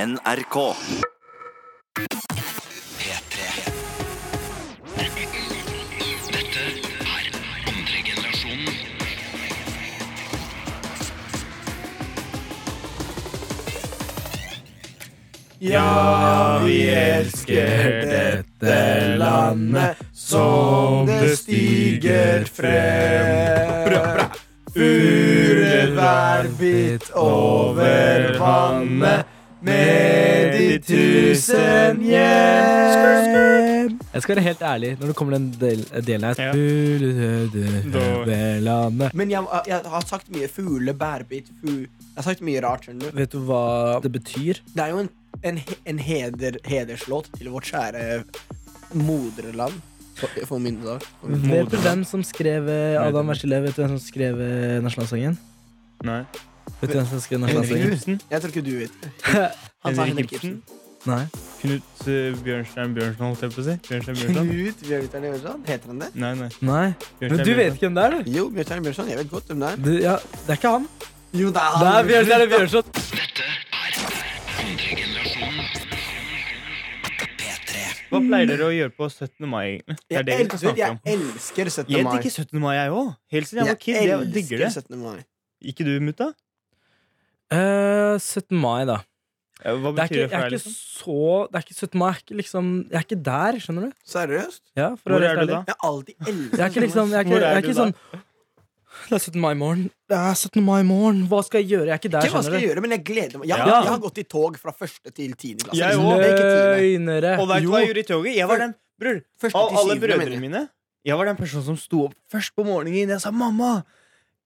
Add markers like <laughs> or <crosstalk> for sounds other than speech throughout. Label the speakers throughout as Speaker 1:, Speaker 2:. Speaker 1: NRK.
Speaker 2: Ja, vi elsker dette landet som det stiger frem. Furer hver bit over vannet med de tusen hjem.
Speaker 3: Jeg skal være helt ærlig når det kommer den del, delen her.
Speaker 4: Ja.
Speaker 3: Du, du, du, du,
Speaker 4: Da-
Speaker 3: det landet.
Speaker 2: Men jeg, jeg har sagt mye fugle, bærbit, fu... Jeg har sagt mye rart. skjønner du.
Speaker 3: Vet du hva det betyr?
Speaker 2: Det er jo en, en, he- en heder, hederslåt til vårt kjære moderland. For, for min dag.
Speaker 3: Vet du hvem som skrev eh, Adam Versile? Vet du hvem som skrev eh, nasjonalsangen?
Speaker 4: Nei.
Speaker 3: Vet du hvem som skrev
Speaker 4: Henrik
Speaker 3: nasjonalsangen?
Speaker 4: Ibsen.
Speaker 2: Jeg tror ikke du vet det. Han sa
Speaker 4: Henrik
Speaker 2: Henrik
Speaker 4: Ibsen.
Speaker 2: Ibsen.
Speaker 3: Nei.
Speaker 4: Knut eh, Bjørnstjern Bjørnson, holdt jeg på å si. Bjørnstjern Bjørnson.
Speaker 2: Knut Bjørnstjerne Bjørnson? Heter han det?
Speaker 4: Nei, nei.
Speaker 3: Nei. Men du vet ikke hvem det er, du.
Speaker 2: Jo, Bjørnstjerne Bjørnson. Jeg vet godt hvem det er.
Speaker 3: du ja, det er ikke han.
Speaker 2: Jo, det er
Speaker 3: Det er Bjørnstjerne Bjørnson.
Speaker 4: Hva pleier dere å gjøre på 17. mai, egentlig? Det er det vi
Speaker 2: jeg,
Speaker 4: skal
Speaker 2: el-
Speaker 4: snakke om.
Speaker 2: jeg elsker 17.
Speaker 4: Jeg
Speaker 2: mai.
Speaker 4: digger 17. mai, jeg òg. Helt siden jeg var kid. Jeg digger det.
Speaker 2: elsker 17. mai.
Speaker 4: Ikke du, mutta?
Speaker 3: Eh, 17. mai, da.
Speaker 4: Ja, Hva
Speaker 3: Det er
Speaker 4: betyr
Speaker 3: ikke,
Speaker 4: det
Speaker 3: jeg
Speaker 4: for
Speaker 3: er
Speaker 4: deg?
Speaker 3: ikke
Speaker 4: liksom?
Speaker 3: så Det er ikke 17. mai. Jeg er ikke, liksom, jeg er ikke der, skjønner du.
Speaker 2: Seriøst?
Speaker 3: Ja, for å
Speaker 4: Hvor
Speaker 3: være
Speaker 4: er du
Speaker 3: helt
Speaker 4: da?
Speaker 3: ærlig.
Speaker 2: Jeg har alltid elsket
Speaker 3: Jeg er ikke liksom Jeg er ikke,
Speaker 4: Hvor er
Speaker 3: jeg er
Speaker 4: du
Speaker 3: ikke
Speaker 4: da?
Speaker 3: sånn Det er 17. mai i morgen. Det er 17. mai i morgen. Hva skal jeg gjøre? Jeg er ikke der,
Speaker 2: Ikke hva skal
Speaker 3: skjønner
Speaker 2: jeg
Speaker 3: du.
Speaker 2: gjøre, men jeg gleder meg. Jeg,
Speaker 4: Ja.
Speaker 2: jeg har gått i tog fra første til tiende klasse.
Speaker 4: Jeg
Speaker 2: liksom.
Speaker 4: også.
Speaker 2: Det er ikke tiende.
Speaker 3: Løgnere.
Speaker 4: Og vet du hva jeg
Speaker 3: Jo.
Speaker 4: gjorde i toget? Jeg var den bror,
Speaker 2: Første
Speaker 4: av
Speaker 2: til
Speaker 4: alle
Speaker 2: syvende, mener
Speaker 4: brødrene
Speaker 2: jeg.
Speaker 4: mine. Jeg var den personen som sto opp først på morgenen. Jeg sa 'mamma,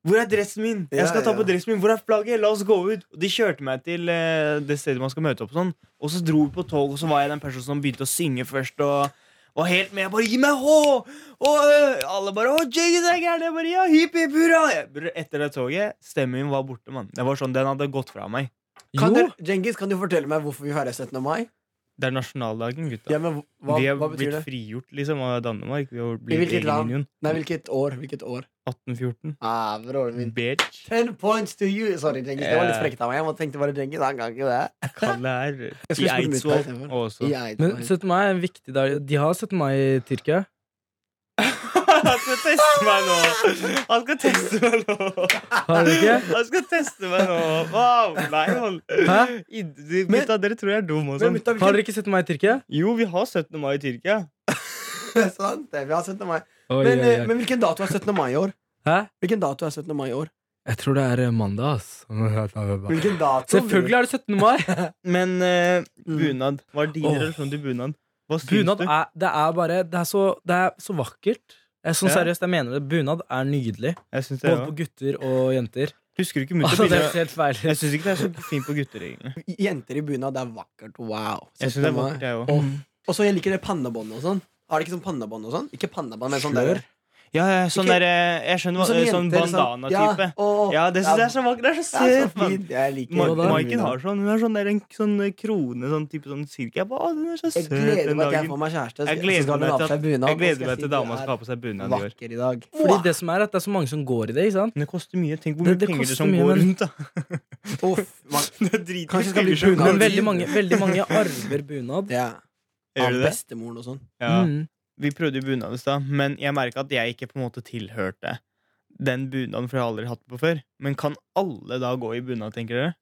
Speaker 4: hvor er dressen min?'
Speaker 2: Ja,
Speaker 4: 'Jeg skal ta
Speaker 2: ja.
Speaker 4: på dressen min. Hvor er flagget? La oss gå ut.' Og de kjørte meg til eh, det stedet man skal møte opp, og sånn. Og så dro vi på tog, og så var jeg den personen som begynte å synge først. og var helt med. Jeg bare 'gi meg H!' Og ø, alle bare 'Å, Jesus er gæren'. Jeg bare 'ja, hipp, hipp, hurra'. Jeg- bror, Etter det toget, stemmen min var borte, mann. Det var sånn, Den hadde gått fra meg.
Speaker 2: Kan
Speaker 3: Jo.
Speaker 2: dere- Djengis, kan du fortelle meg hvorfor vi feirer 17. mai?
Speaker 4: Det er nasjonaldagen, gutta.
Speaker 2: Ja, men hva,
Speaker 4: vi har
Speaker 2: hva
Speaker 4: blitt
Speaker 2: betyr det?
Speaker 4: frigjort liksom, av Danmark. Vi har
Speaker 2: I
Speaker 4: blitt
Speaker 2: hvilket
Speaker 4: egen
Speaker 2: land?
Speaker 4: union.
Speaker 2: Nei, hvilket år? Hvilket år?
Speaker 4: 1814.
Speaker 2: Ah, broren min.
Speaker 4: Bitch.
Speaker 2: Ten points to you! Sorry, Djengis. Det var litt
Speaker 3: Eh.
Speaker 4: Ja.
Speaker 2: frekt av meg. Jeg måtte tenkte bare Djengis, han kan ikke det.
Speaker 4: Kalle er
Speaker 2: Jeg
Speaker 4: i
Speaker 2: skulle spurt mitt
Speaker 4: Eidsvoll
Speaker 2: istedenfor.
Speaker 4: også.
Speaker 2: I Eidsvoll.
Speaker 3: Men 17. mai er en viktig dag. De har 17. mai i Tyrkia.
Speaker 4: <laughs> Han skal teste meg nå! Han skal teste meg nå!
Speaker 3: Har de ikke?
Speaker 4: Han skal teste meg nå! Wow! Nei, man.
Speaker 3: Hæ?
Speaker 4: I- de- Gutta, dere tror jeg er dum og
Speaker 2: Men
Speaker 4: sånn.
Speaker 2: mutta,
Speaker 3: Har
Speaker 2: hvilken-
Speaker 3: dere ikke 17. mai i Tyrkia?
Speaker 4: Jo, vi har 17. mai i Tyrkia.
Speaker 2: <laughs> Sant, det. Vi har 17. mai.
Speaker 3: Oi,
Speaker 2: Men,
Speaker 3: oi,
Speaker 2: eh,
Speaker 3: oi.
Speaker 2: men hvilken dato er 17. mai i år?
Speaker 3: Hæ?
Speaker 2: Hvilken dato er 17. mai i år?
Speaker 3: Jeg tror det er eh, mandag, ass.
Speaker 2: Hvilken dato?
Speaker 3: <laughs> Selvfølgelig er det 17. mai!
Speaker 4: Men eh,
Speaker 2: Mm.
Speaker 4: bunad. Hva er din
Speaker 3: Åh.
Speaker 4: relasjon til bunad? Hva syns
Speaker 3: Bunad
Speaker 4: du?
Speaker 3: er, det er bare Det er så, det er så vakkert. Jeg, er sånn
Speaker 4: Ja.
Speaker 3: seriøst, jeg mener det. Bunad er nydelig.
Speaker 4: Jeg synes det
Speaker 3: Både
Speaker 4: er
Speaker 3: på gutter og jenter.
Speaker 4: Husker du ikke mutta?
Speaker 3: Altså, <laughs> det
Speaker 4: bildet?
Speaker 3: er helt feil.
Speaker 4: Jeg syns ikke det er så fint på gutter, egentlig.
Speaker 2: Jenter i bunad, det er vakkert. Wow.
Speaker 4: Jeg synes det er
Speaker 2: 17. mai.
Speaker 4: vakkert, jeg òg.
Speaker 2: Og, og så jeg liker det pannebåndet og sånn. Har de ikke sånn pannebånd og sånn? Ikke pannebånd, men sånn
Speaker 3: Slør.
Speaker 2: der.
Speaker 4: Ja, ja, sånn
Speaker 2: Ikke-
Speaker 4: der, eh, Jeg skjønner hva
Speaker 2: Sånn
Speaker 4: eh, Sånn
Speaker 2: jenter,
Speaker 4: bandana-type.
Speaker 2: Ja, å,
Speaker 4: Ja, det syns jeg er så vakkert. Det er så
Speaker 2: det er
Speaker 4: søtt,
Speaker 2: så
Speaker 4: mann.
Speaker 2: fint. Jeg liker
Speaker 4: Ma
Speaker 3: da.
Speaker 4: Maiken har sånn Hun har sånn der en sånn krone, sånn type sånn cirka. Å, den er så
Speaker 2: Jeg
Speaker 4: søt
Speaker 2: gleder
Speaker 4: den
Speaker 2: meg til jeg
Speaker 4: dagen.
Speaker 2: får meg kjæreste.
Speaker 4: Jeg
Speaker 2: så- så
Speaker 4: gleder
Speaker 2: skal hun
Speaker 4: meg
Speaker 2: ha
Speaker 4: til,
Speaker 2: på seg
Speaker 4: at,
Speaker 2: bunad,
Speaker 4: jeg
Speaker 2: og så skal
Speaker 4: gleder meg
Speaker 2: si
Speaker 4: til
Speaker 2: du
Speaker 4: dama skal
Speaker 2: er
Speaker 4: ha på seg bunad i år.
Speaker 2: Vakker i dag.
Speaker 3: Fordi det som er at det er så mange som går i det. ikke sant?
Speaker 4: Men det koster mye. Tenk hvor mye
Speaker 3: Det- det
Speaker 4: penger det
Speaker 3: koster
Speaker 4: som
Speaker 3: mye,
Speaker 4: går
Speaker 3: men-
Speaker 4: rundt, da. <laughs>
Speaker 2: Uff, man,
Speaker 4: Det er drit-
Speaker 2: Kanskje det skal bli
Speaker 4: Spiller
Speaker 2: bunad.
Speaker 4: så-
Speaker 3: Men veldig mange, veldig mange arver bunad.
Speaker 2: ja.
Speaker 4: Gjør
Speaker 2: Av
Speaker 4: du det?
Speaker 2: bestemoren og sånn.
Speaker 4: <laughs> Ja.
Speaker 3: Mm.
Speaker 4: Vi prøvde jo bunad i stad, men jeg merka at jeg ikke på en måte tilhørte den bunaden, for jeg har aldri hatt det på før. Men kan alle da gå i bunad, tenker dere?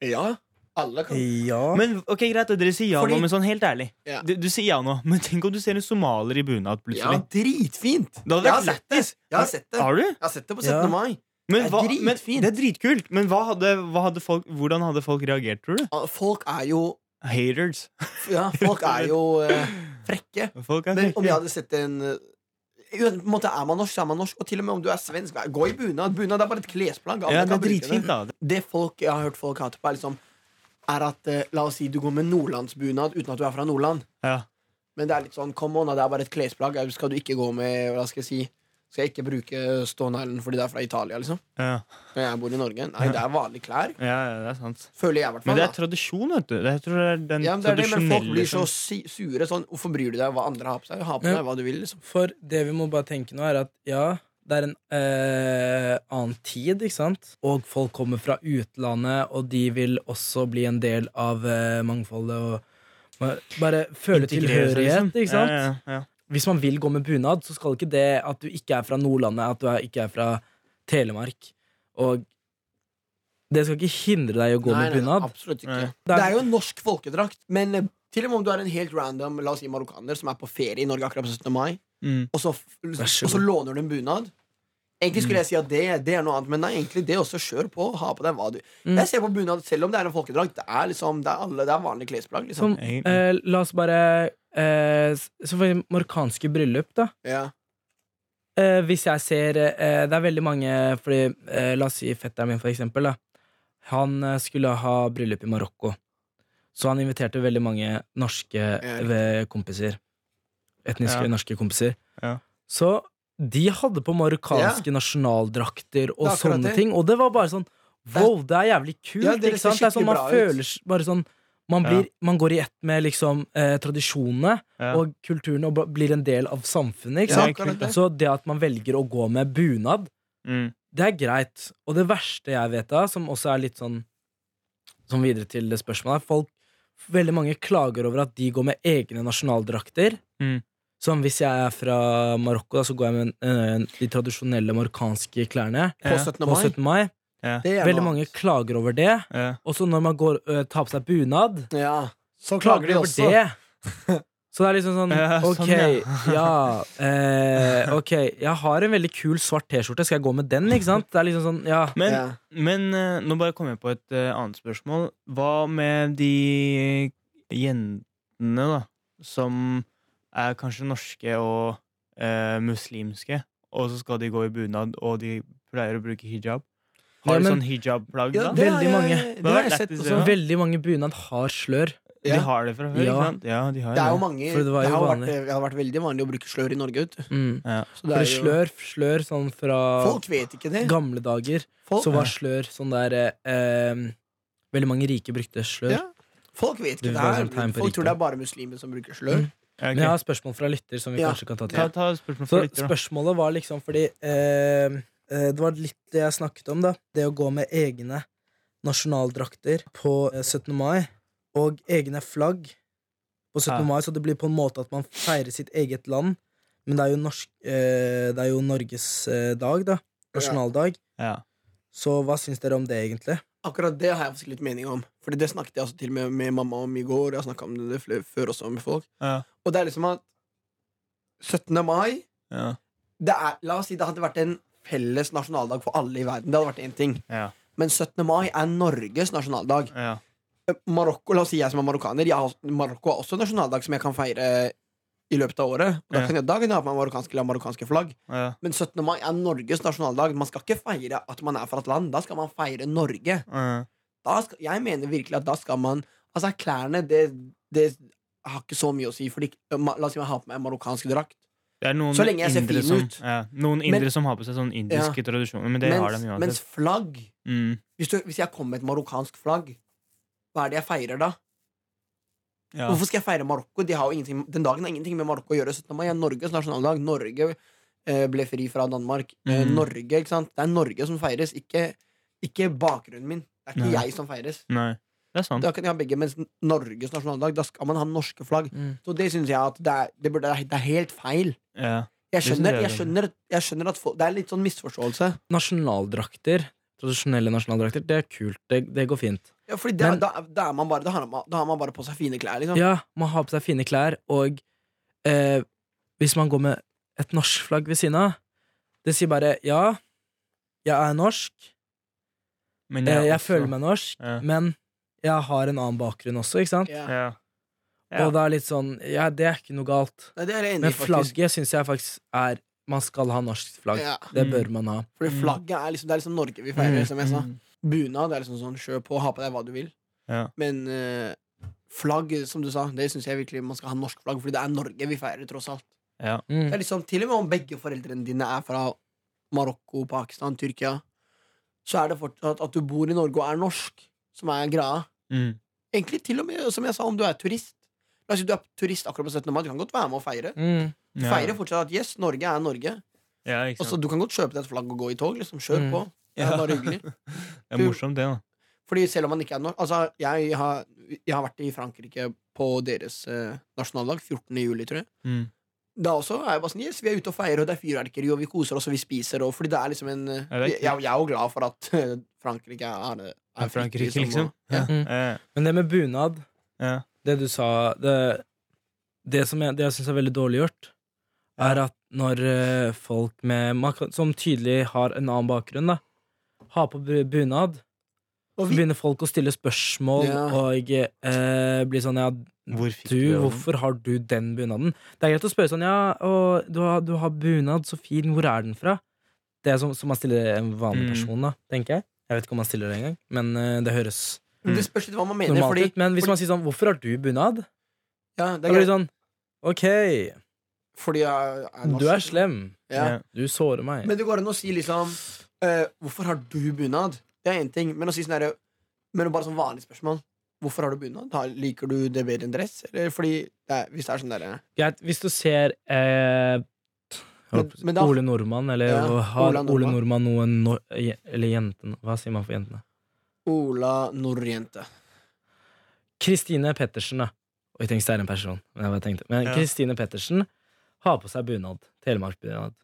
Speaker 2: Ja. Alle kan
Speaker 3: Ja.
Speaker 4: Men ok, greit, dere sier ja
Speaker 2: Fordi-
Speaker 4: nå, men sånn helt ærlig.
Speaker 2: Ja.
Speaker 4: Du, du sier ja nå, men tenk om du ser en somalier i bunad
Speaker 2: Ja, altså,
Speaker 4: plutselig.
Speaker 2: dritfint.
Speaker 4: Da hadde
Speaker 2: Jeg har
Speaker 4: vært
Speaker 2: sett det.
Speaker 4: lættis.
Speaker 2: Jeg har sett det.
Speaker 4: Har du?
Speaker 2: Jeg har sett det på 17.
Speaker 3: Ja.
Speaker 2: mai.
Speaker 4: Men,
Speaker 2: Det er
Speaker 4: hva, men,
Speaker 2: dritfint.
Speaker 4: det er dritkult, men hva hadde, hva hadde folk, hvordan hadde folk reagert, tror du?
Speaker 2: Ah, Folk er jo
Speaker 4: Haters.
Speaker 2: Ja, folk er jo eh, frekke.
Speaker 4: Folk er
Speaker 2: Men om jeg
Speaker 4: frekke.
Speaker 2: hadde sett en eh, jo, på en måte Er man norsk, så er man norsk. Og til og med om du er svensk, gå i bunad. Bunad er bare et klesplagg. Alle
Speaker 4: Ja, det er
Speaker 2: kan bruke
Speaker 4: dritfint, da.
Speaker 2: Det folk jeg har hørt folk hate på, er liksom Er at eh, La oss si du går med nordlandsbunad uten at du er fra Nordland.
Speaker 4: Ja.
Speaker 2: Men det er litt sånn, come on, da, det er bare et klesplagg. Eh, Skal du ikke gå med Hva skal jeg si? Skal jeg ikke bruke stånælen fordi det er fra Italia, liksom?
Speaker 4: Ja.
Speaker 2: Men jeg bor i Norge. Nei, det er vanlige klær.
Speaker 4: Ja, ja, det er sant.
Speaker 2: Føler jeg, i hvert
Speaker 4: Men
Speaker 2: fall.
Speaker 4: det
Speaker 2: da.
Speaker 4: er tradisjon, vet du. Det, jeg tror det er den
Speaker 2: Ja, men det er det, men folk
Speaker 4: tradisjonelle
Speaker 2: blir så
Speaker 4: som-
Speaker 2: si- sure sånn. Hvorfor bryr du deg hva andre har på seg? Ha på
Speaker 3: Ja.
Speaker 2: deg hva du vil, liksom.
Speaker 3: For det vi må bare tenke nå, er at ja, Det er en eh, annen tid, ikke sant? Og folk kommer fra utlandet, og de vil også bli en del av eh, mangfoldet og må- bare føle
Speaker 4: Integrere seg, liksom.
Speaker 3: tilhørighet, ikke sant?
Speaker 4: Ja, ja, ja.
Speaker 3: Hvis man vil gå med bunad, så skal ikke det at du ikke er fra Nordlandet, at du er, ikke er fra Telemark, og det skal ikke hindre deg i å gå
Speaker 2: Nei,
Speaker 3: med
Speaker 2: nei, nei,
Speaker 3: bunad.
Speaker 2: absolutt ikke.
Speaker 4: Nei.
Speaker 2: Det er jo en norsk folkedrakt, men eh, til og med om du er en helt random La oss si marokkaner som er på ferie i Norge akkurat på 17. mai,
Speaker 4: Mm.
Speaker 2: og så, f-
Speaker 3: Vær så
Speaker 2: og så låner du en bunad. Egentlig skulle jeg si at det, det er noe annet, men nei, egentlig det også. Kjør på. Ha på deg hva du
Speaker 3: Mm.
Speaker 2: Jeg ser på bunad, selv om det er en folkedrakt. Det er liksom, det er alle, det er vanlige klesplagg. Liksom.
Speaker 3: Som, eh, la oss bare eh, s- Så for eksempel marokkanske bryllup, da.
Speaker 2: Ja.
Speaker 3: Eh, hvis jeg ser eh, Det er veldig mange Fordi, eh, la oss si fetteren min for eksempel da. Han eh, skulle ha bryllup i Marokko Så han inviterte veldig mange norske eh, kompiser Etniske
Speaker 4: Ja.
Speaker 3: norske kompiser
Speaker 4: Ja.
Speaker 3: Så de hadde på marokkanske nasjonaldrakter Og
Speaker 2: Det er akkurat
Speaker 3: sånne
Speaker 2: det.
Speaker 3: ting Og det var bare sånn Wow, det er jævlig kult
Speaker 2: Ja, dere
Speaker 3: ikke
Speaker 2: ser
Speaker 3: sant? Det er sånn man
Speaker 2: skikkelig bra ut.
Speaker 3: føler s- Bare sånn man,
Speaker 4: Ja.
Speaker 3: blir, man går i ett med liksom eh, tradisjonene
Speaker 4: Ja.
Speaker 3: Og kulturen og ba- blir en del av samfunnet Ikke
Speaker 2: Ja,
Speaker 3: sant?
Speaker 2: akkurat det.
Speaker 3: Så det at man velger å gå med bunad,
Speaker 4: Mm.
Speaker 3: det er greit. Og det verste jeg vet av, som også er litt sånn Som videre til det spørsmålet, er folk Veldig mange klager over at de går med egne nasjonaldrakter.
Speaker 4: Mm.
Speaker 3: Som hvis jeg er fra Marokko, da, så går jeg med eh, de tradisjonelle marokkanske klærne
Speaker 2: På
Speaker 4: Ja.
Speaker 2: 17.
Speaker 3: på
Speaker 2: mai.
Speaker 3: 17. mai.
Speaker 2: Det er
Speaker 3: Veldig
Speaker 2: noe
Speaker 3: mange
Speaker 2: annet.
Speaker 3: klager over det.
Speaker 4: Ja.
Speaker 3: Og så når man går, eh, tar på seg bunad,
Speaker 2: ja. Så
Speaker 3: klager de over det. <laughs> Så det er liksom sånn
Speaker 4: Ja, sånn,
Speaker 3: Ok, <laughs> ja eh, Ok, jeg har en veldig kul svart T-skjorte. Skal jeg gå med den, ikke sant? Det er liksom sånn, ja
Speaker 4: Men,
Speaker 2: Ja.
Speaker 4: men eh, nå bare kom jeg på et eh, annet spørsmål. Hva med de jentene da som er kanskje norske og eh, muslimske, og så skal de gå i bunad, og de pleier å bruke hijab? Har
Speaker 3: Ja,
Speaker 4: de
Speaker 3: men-
Speaker 4: sånn hijab-plagg
Speaker 2: Ja,
Speaker 4: da?
Speaker 2: det har
Speaker 3: Veldig
Speaker 2: jeg-
Speaker 3: mange.
Speaker 2: Det har jeg
Speaker 4: Det er
Speaker 2: sett.
Speaker 4: lættis,
Speaker 2: Også.
Speaker 3: Så veldig mange bunad har slør.
Speaker 2: Ja.
Speaker 4: De har det fra før,
Speaker 3: Ja.
Speaker 4: ikke sant? Ja, de har
Speaker 2: Det er jo
Speaker 4: det.
Speaker 2: mange
Speaker 3: For det var jo
Speaker 2: har vært,
Speaker 3: vanlig.
Speaker 2: det har vært veldig vanlig å bruke slør i Norge. Ut.
Speaker 3: Mm.
Speaker 4: Ja.
Speaker 2: Så det
Speaker 3: For
Speaker 2: er
Speaker 3: det
Speaker 2: jo-
Speaker 3: slør, slør sånn fra
Speaker 2: Folk vet ikke det.
Speaker 3: gamle dager,
Speaker 2: Folk,
Speaker 3: så var slør sånn der eh, eh, Veldig mange rike brukte slør.
Speaker 2: Ja. folk vet ikke det.
Speaker 3: Det var sånn
Speaker 2: her
Speaker 3: tegn på
Speaker 2: Folk tror
Speaker 3: rikdom.
Speaker 2: det er bare muslimer som bruker slør.
Speaker 3: Mm.
Speaker 4: Ja, ok.
Speaker 3: Men jeg har spørsmål fra lytter som vi
Speaker 2: Ja.
Speaker 3: kanskje kan ta til.
Speaker 4: Ta, ta spørsmål
Speaker 3: Så
Speaker 4: for lytter, da.
Speaker 3: spørsmålet var liksom fordi eh, eh, Det var litt det jeg snakket om, da. Det å gå med egne nasjonaldrakter på eh, 17. mai, og egne flagg på 17.
Speaker 4: Ja.
Speaker 3: mai, så det blir på en måte at man feirer sitt eget land. Men det er jo, norsk, eh, det er jo Norges eh, dag, da. Nasjonaldag.
Speaker 4: Ja.
Speaker 3: Så hva syns dere om det, egentlig?
Speaker 2: Akkurat det har jeg faktisk litt mening om. Fordi det snakket jeg også til med, med mamma om i går. Jeg har snakket om det fl- før også med folk
Speaker 4: Ja.
Speaker 2: Og det er liksom at 17. mai
Speaker 4: Ja.
Speaker 2: det er, La oss si det hadde vært en felles nasjonaldag for alle i verden. Det hadde vært én ting.
Speaker 4: Ja.
Speaker 2: Men 17. mai er Norges nasjonaldag.
Speaker 4: Ja.
Speaker 2: Eh, Marokko, la oss si jeg som er marokkaner jeg har, Marokko har også en nasjonaldag som jeg kan feire i løpet av året. Og da
Speaker 4: Ja.
Speaker 2: kan jeg, da kan jeg ha på meg marokkanske eller marokkanske flagg.
Speaker 4: Ja.
Speaker 2: Men 17. mai er Norges nasjonaldag. Man skal ikke feire at man er fra et land. Da skal man feire Norge.
Speaker 4: Ja.
Speaker 2: Da skal, jeg mener virkelig at da skal man Altså, klærne, det, det har ikke så mye å si. Fordi, eh, ma- la oss si man har på meg en marokkansk drakt.
Speaker 4: Det er noen
Speaker 2: Så lenge jeg ser
Speaker 4: indre
Speaker 2: fin
Speaker 4: som,
Speaker 2: ut.
Speaker 4: Ja, noen
Speaker 2: Men-
Speaker 4: indre som har på seg sånn indiske tradisjoner, men det har
Speaker 2: Mens,
Speaker 4: de
Speaker 2: mens
Speaker 4: uansett.
Speaker 2: flagg
Speaker 4: Mm.
Speaker 2: hvis, du, hvis jeg kommer med et marokkansk flagg, hva er det jeg feirer da?
Speaker 4: Ja.
Speaker 2: Hvorfor skal jeg feire Marokko? De har jo ingenting, den dagen har ingenting med Marokko å gjøre. 17. mai er Norges nasjonaldag. Norge eh, ble fri fra Danmark. Eh,
Speaker 4: Mhm.
Speaker 2: Norge, ikke sant? Det er Norge som feires, ikke, ikke bakgrunnen min. Det er ikke
Speaker 4: Nei.
Speaker 2: jeg som feires.
Speaker 4: Nei, det er sant.
Speaker 2: Da kan jeg ha begge, mens Norges nasjonaldag, da skal man ha norske flagg.
Speaker 3: Mm.
Speaker 2: Så det syns jeg at det er, det, burde, det er helt feil.
Speaker 4: Ja. Det
Speaker 2: Jeg
Speaker 4: synes
Speaker 2: skjønner,
Speaker 4: jeg er
Speaker 2: jeg skjønner, jeg skjønner at folk- Det er litt sånn misforståelse.
Speaker 3: Nasjonaldrakter, tradisjonelle nasjonaldrakter, det er kult. Det, det går fint.
Speaker 2: Ja, fordi det,
Speaker 3: Men-
Speaker 2: da, da, er man bare, da, har man, da har man bare på seg fine klær, liksom.
Speaker 3: Ja, man har på seg fine klær, og eh, hvis man går med et norsk flagg ved siden av, det sier bare ja, jeg er norsk,
Speaker 4: Men
Speaker 2: Eh,
Speaker 3: jeg, jeg
Speaker 4: også-
Speaker 3: føler meg norsk,
Speaker 4: Ja.
Speaker 3: men jeg har en annen bakgrunn også, ikke sant?
Speaker 2: Ja.
Speaker 4: Ja. Ja.
Speaker 3: Og det er litt sånn, ja, det er ikke noe galt.
Speaker 2: Nei, det er jeg enig
Speaker 3: Men
Speaker 2: i, faktisk.
Speaker 3: flagget syns jeg faktisk er Man skal ha norsk flagg.
Speaker 2: Ja.
Speaker 3: Det bør man ha.
Speaker 2: Fordi
Speaker 4: Mm.
Speaker 2: flagget er liksom, det er liksom Norge vi feirer, som jeg sa. Bunad er liksom sånn kjøp på, ha på deg hva du vil.
Speaker 4: Ja.
Speaker 2: Men eh, flagg, som du sa, det syns jeg virkelig man skal ha norsk flagg, fordi det er Norge vi feirer, tross alt.
Speaker 4: Ja.
Speaker 2: Det
Speaker 3: Mm.
Speaker 2: er liksom, til og med om begge foreldrene dine er fra Marokko, Pakistan, Tyrkia, så er det fortsatt at du bor i Norge og er norsk, som er greia.
Speaker 4: Mm.
Speaker 2: Egentlig til og med, som jeg sa, om du er turist. La oss si du er turist akkurat på 17. mai, du kan godt være med og feire.
Speaker 3: Mm.
Speaker 2: Du
Speaker 4: Ja.
Speaker 2: feirer fortsatt at yes, Norge er Norge.
Speaker 4: Ja, ikke
Speaker 2: Altså,
Speaker 4: sant?
Speaker 2: du kan godt kjøpe deg et flagg og gå i tog. Liksom, Kjør
Speaker 3: Mm.
Speaker 2: på. Det er
Speaker 4: Ja.
Speaker 2: bare
Speaker 4: <laughs>
Speaker 2: hyggelig.
Speaker 4: Det er morsomt, det, da.
Speaker 2: Fordi selv om man ikke er norsk Altså, jeg har, jeg har vært i Frankrike på deres eh, nasjonaldag, 14. juli, tror jeg.
Speaker 4: Mm.
Speaker 2: Da også er jeg bare sånn Yes, vi er ute og feirer, og det er fyrverkeri, og vi koser oss, og vi spiser, og Fordi det er liksom en eh,
Speaker 4: Ja, det er
Speaker 2: Jeg, jeg er jo glad for at eh, Frankrike er, er,
Speaker 4: Er Frankrike,
Speaker 2: fritt,
Speaker 4: liksom.
Speaker 2: og- Ja.
Speaker 3: Mm.
Speaker 4: Eh,
Speaker 3: Men det med bunad,
Speaker 4: ja.
Speaker 3: det du sa Det, det som jeg, det jeg syns er veldig dårlig gjort, er at når eh, folk med man kan- som tydelig har en annen bakgrunn, da, har på bu- bunad,
Speaker 2: Og
Speaker 3: så
Speaker 2: vi,
Speaker 3: begynner folk å stille spørsmål
Speaker 2: Ja.
Speaker 3: og eh, blir sånn Ja,
Speaker 4: Hvor fikk
Speaker 3: du,
Speaker 4: du den?
Speaker 3: hvorfor har du den bunaden? Det er greit å spørre sånn Ja, og du har, du har bunad, så fin, hvor er den fra? Det er som, som man stiller en vanlig
Speaker 4: Mm.
Speaker 3: person, da, tenker jeg. Jeg vet ikke om man stiller det engang, men eh, det høres
Speaker 2: det spørs litt hva man mener,
Speaker 3: normalt
Speaker 2: fordi,
Speaker 3: ut. Men hvis
Speaker 2: fordi,
Speaker 3: man sier sånn Hvorfor har du bunad?
Speaker 2: ja, det
Speaker 3: Da
Speaker 2: er
Speaker 3: blir det
Speaker 2: greit,
Speaker 3: sånn Ok,
Speaker 2: fordi jeg er norsk.
Speaker 3: du er slem.
Speaker 2: Ja.
Speaker 4: Ja.
Speaker 3: Du sårer meg.
Speaker 2: Men det går an å si liksom eh, Hvorfor har du bunad? Det er én ting, men å si sånn derre Men bare sånn vanlig spørsmål. Hvorfor har du bunad? Da liker du det bedre enn dress? Eller fordi det er, Hvis det er sånn derre
Speaker 3: Greit, hvis du ser eh,
Speaker 2: Men- men da-
Speaker 3: Ole Nordmann, eller
Speaker 2: Ja,
Speaker 3: har
Speaker 2: Ola
Speaker 3: Ole
Speaker 2: Nordmann.
Speaker 3: Nordmann noen no je- Eller jentene Hva sier man for jentene?
Speaker 2: Ola Norrjente.
Speaker 3: Kristine Pettersen, da. Oi, tenk, det er en person. Men jeg bare tenkte Men
Speaker 4: Ja.
Speaker 3: Kristine Pettersen har på seg bunad. Telemarksbunad.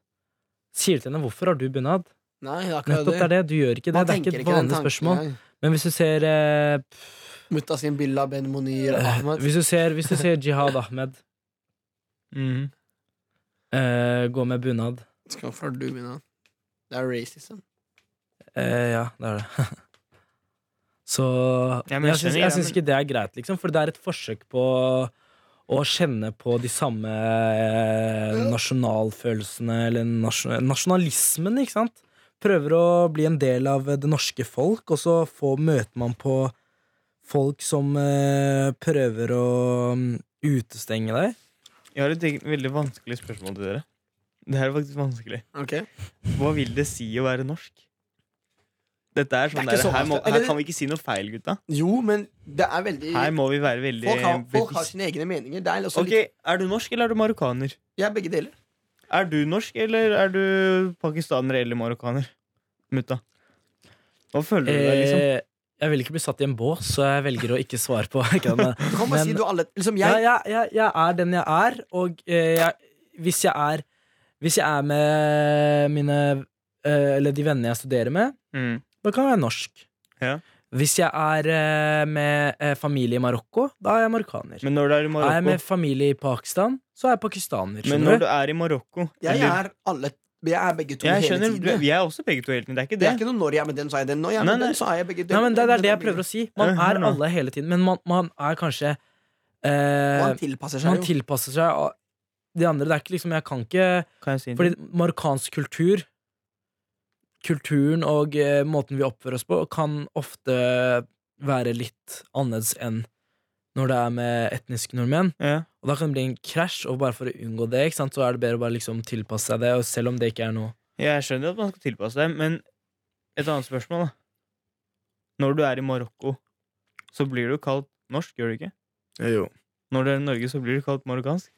Speaker 3: Sier du til henne 'hvorfor har du bunad'?
Speaker 2: Nei, det er akkurat
Speaker 3: Nettopp det er det. Du gjør ikke det.
Speaker 2: Man
Speaker 3: Det er ikke
Speaker 2: tenker
Speaker 3: et
Speaker 2: ikke den
Speaker 3: vanlig
Speaker 2: tanken
Speaker 3: spørsmål.
Speaker 2: engang.
Speaker 3: Men hvis du ser eh,
Speaker 2: Mutta sin Billa Ben Monir Ahmad.
Speaker 3: Hvis du ser, hvis du ser Jihad Ahmed
Speaker 4: Mhm.
Speaker 3: eh, gå med bunad
Speaker 2: Skal få du bunad. Det er racism.
Speaker 3: eh, Ja, det er det. <laughs> Så
Speaker 4: Ja, men jeg
Speaker 3: jeg syns,
Speaker 4: skjønner, ja,
Speaker 3: jeg syns
Speaker 4: men-
Speaker 3: ikke det er greit, liksom, for det er et forsøk på å kjenne på de samme eh, nasjonalfølelsene, eller nasjon, nasjonalismen, ikke sant? Prøver å bli en del av det norske folk, og så få, møter man på folk som eh, prøver å mm, utestenge deg.
Speaker 4: Jeg har et eget- veldig vanskelig spørsmål til dere. Det her er faktisk vanskelig.
Speaker 2: Ok
Speaker 4: Hva vil det si å være norsk? Dette er
Speaker 2: Det er
Speaker 4: sånn
Speaker 2: ikke
Speaker 4: der,
Speaker 2: så
Speaker 4: her, må,
Speaker 2: vanskelig.
Speaker 4: her
Speaker 2: Eller-
Speaker 4: kan vi ikke si noe feil, gutta.
Speaker 2: Jo, men det er veldig
Speaker 4: Her må vi være veldig
Speaker 2: folk, har, folk har
Speaker 4: bevisst.
Speaker 2: sine egne meninger. Det er også
Speaker 4: Ok, Er du norsk, eller er du marokkaner?
Speaker 2: litt Jeg er begge deler.
Speaker 4: Er du norsk, eller er du pakistaner eller marokkaner? Mutta. Hva føler du deg, liksom?
Speaker 3: Eh, jeg vil ikke bli satt i en bås, så jeg velger å ikke svare på. <laughs> Ikke det, men-
Speaker 2: Du kan bare
Speaker 3: Men-
Speaker 2: si du er alle Liksom,
Speaker 3: jeg,
Speaker 2: jeg
Speaker 3: jeg, jeg, jeg er den jeg er, og eh, jeg, hvis jeg er Hvis jeg er med mine eh, Eller de vennene jeg studerer med,
Speaker 4: Mm.
Speaker 3: da kan jeg være norsk.
Speaker 4: Ja.
Speaker 3: Hvis jeg er eh, med eh, familie i Marokko, da er jeg marokkaner.
Speaker 4: Men når du er i
Speaker 3: er jeg
Speaker 4: Marokko
Speaker 3: med familie i Pakistan, så er jeg pakistaner.
Speaker 4: Men
Speaker 3: skjønner
Speaker 4: når
Speaker 3: du?
Speaker 4: du er i Marokko
Speaker 2: Jeg
Speaker 4: eller-
Speaker 2: er alle Jeg er begge to
Speaker 4: Jeg
Speaker 2: hele
Speaker 4: skjønner, du,
Speaker 2: tiden.
Speaker 4: vi er også begge to helt men Det er ikke
Speaker 2: Det
Speaker 4: det.
Speaker 2: er ikke noe når jeg er med den, så er jeg den. Når jeg er
Speaker 4: Nei,
Speaker 2: med
Speaker 4: nei.
Speaker 2: den, så er jeg begge
Speaker 3: Nei, men det, det er det jeg prøver å si. Man
Speaker 4: Ja,
Speaker 3: er
Speaker 4: hør nå.
Speaker 3: alle hele tiden, men man, man er kanskje
Speaker 2: Og
Speaker 3: eh,
Speaker 2: han tilpasser seg
Speaker 3: Man
Speaker 2: jo.
Speaker 3: tilpasser seg av de andre. Det er ikke liksom Jeg kan ikke
Speaker 4: Kan jeg si en ting?
Speaker 3: Fordi marokkansk kultur Kulturen og eh, måten vi oppfører oss på Kan ofte være litt annerledes enn Når det er med etniske nordmenn
Speaker 4: ja.
Speaker 3: Og da kan det bli en krasj Og bare for å unngå det, ikke sant Så er det bedre å bare liksom tilpasse seg det Og selv om det ikke er noe
Speaker 4: Jeg skjønner at man skal tilpasse deg, men et annet spørsmål, da. Når du er i Marokko, så blir du kalt norsk, gjør du ikke? Når du er i Norge, så blir du kalt marokkansk?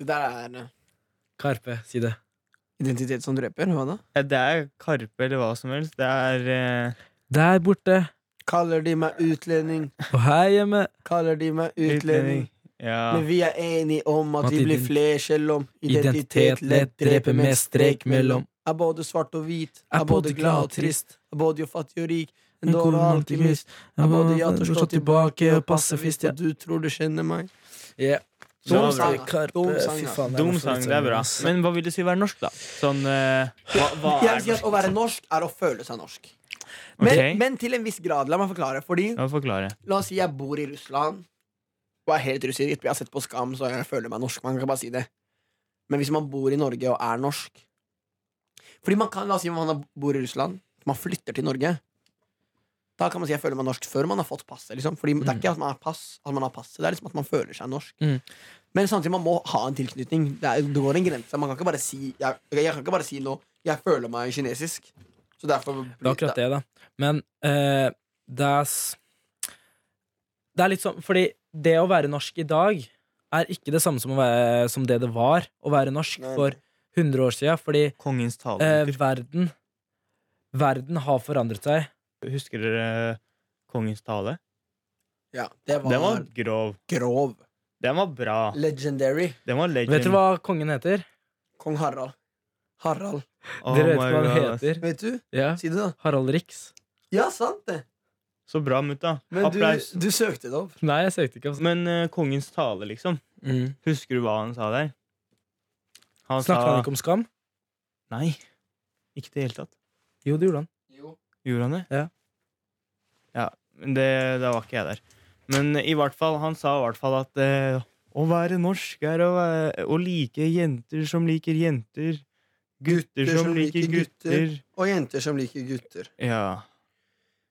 Speaker 2: Det der er eh,
Speaker 3: Karpe, si det
Speaker 2: identitet som dreper. Hva da?
Speaker 4: Ja, Det er karpe eller hva som helst. Det er eh,
Speaker 3: Der borte,
Speaker 2: Kaller de meg utlending?
Speaker 3: og her hjemme
Speaker 2: Kaller de meg utlending?
Speaker 4: Ja.
Speaker 2: Men vi er enige om at
Speaker 3: At
Speaker 2: vi blir
Speaker 3: ident-
Speaker 2: flere selv om
Speaker 3: Identitet lett dreper med strek mellom.
Speaker 2: Er både svart og hvit.
Speaker 3: Er både glad og trist
Speaker 2: Er både fattig og rik. En
Speaker 3: En
Speaker 2: dårlig
Speaker 3: god
Speaker 2: alkymist. Er både ja til å slå tilbake og pasifist. Og du tror du kjenner meg.
Speaker 3: Ja.
Speaker 4: Dum
Speaker 2: sang, da.
Speaker 3: Karpe,
Speaker 2: Dum sang,
Speaker 3: fy
Speaker 2: da.
Speaker 3: faen
Speaker 4: Dum sang, det er bra. Men hva vil det si å være norsk, da? Sånn eh, hva,
Speaker 3: <laughs>
Speaker 4: hva
Speaker 2: Jeg
Speaker 4: er
Speaker 2: vil si at
Speaker 4: norsk?
Speaker 2: å være norsk er å føle seg norsk.
Speaker 4: Ok.
Speaker 2: Men, men til en viss grad. La meg forklare. Fordi
Speaker 4: Ja, forklare.
Speaker 2: La oss si jeg bor i Russland og er helt russer. Jeg har sett på Skam, så jeg føler meg norsk. Man kan bare si det. Men hvis man bor i Norge og er norsk Fordi man kan, La oss si man bor i Russland, man flytter til Norge. Da kan man si jeg føler meg norsk før man har fått passet. Liksom. Fordi Det er ikke at man har pass, at man har passet, det er liksom at man føler seg norsk.
Speaker 3: Mm.
Speaker 2: Men samtidig man må ha en tilknytning. Det, er, det går en grense. Man kan ikke bare si jeg, jeg kan ikke bare si nå jeg føler meg kinesisk. Så derfor
Speaker 3: Det er akkurat det, da. Men eh, det er s- Det er litt sånn Fordi det å være norsk i dag er ikke det samme som, å være, som det det var å være norsk
Speaker 2: Nei.
Speaker 3: for 100 år siden, fordi
Speaker 4: Kongens tale.
Speaker 3: eh,
Speaker 4: gutter.
Speaker 3: verden Verden har forandret seg.
Speaker 4: Husker dere eh, Kongens tale?
Speaker 2: Ja, det var,
Speaker 4: Den var grov.
Speaker 2: grov.
Speaker 4: Den var bra.
Speaker 2: Legendary.
Speaker 4: Den var legend.
Speaker 3: Vet dere hva kongen heter?
Speaker 2: Kong Harald. Harald.
Speaker 4: Oh
Speaker 3: dere vet
Speaker 4: my
Speaker 3: hva han
Speaker 4: God, ass.
Speaker 3: heter?
Speaker 2: Vet du?
Speaker 3: Ja.
Speaker 2: Si det, da.
Speaker 3: Harald Rix.
Speaker 2: Ja, sant det.
Speaker 4: Så bra, mutta.
Speaker 2: Men du,
Speaker 4: Applaus.
Speaker 2: du søkte det opp.
Speaker 3: Nei, jeg søkte ikke. Altså.
Speaker 4: Men eh, Kongens tale, liksom. Husker du hva han sa der? Han
Speaker 3: Mm. Snakket han
Speaker 4: sa
Speaker 3: ikke om skam?
Speaker 4: Nei. Ikke i det hele tatt.
Speaker 3: Jo, det gjorde han.
Speaker 4: Gjorde han det?
Speaker 3: Ja.
Speaker 4: Ja, men det, da var ikke jeg der. Men i hvert fall, han sa i hvert fall at eh, å være norsk er å, være- å like jenter som liker jenter. Gutter som, liker gutter.
Speaker 2: Og jenter som liker gutter.
Speaker 4: Ja.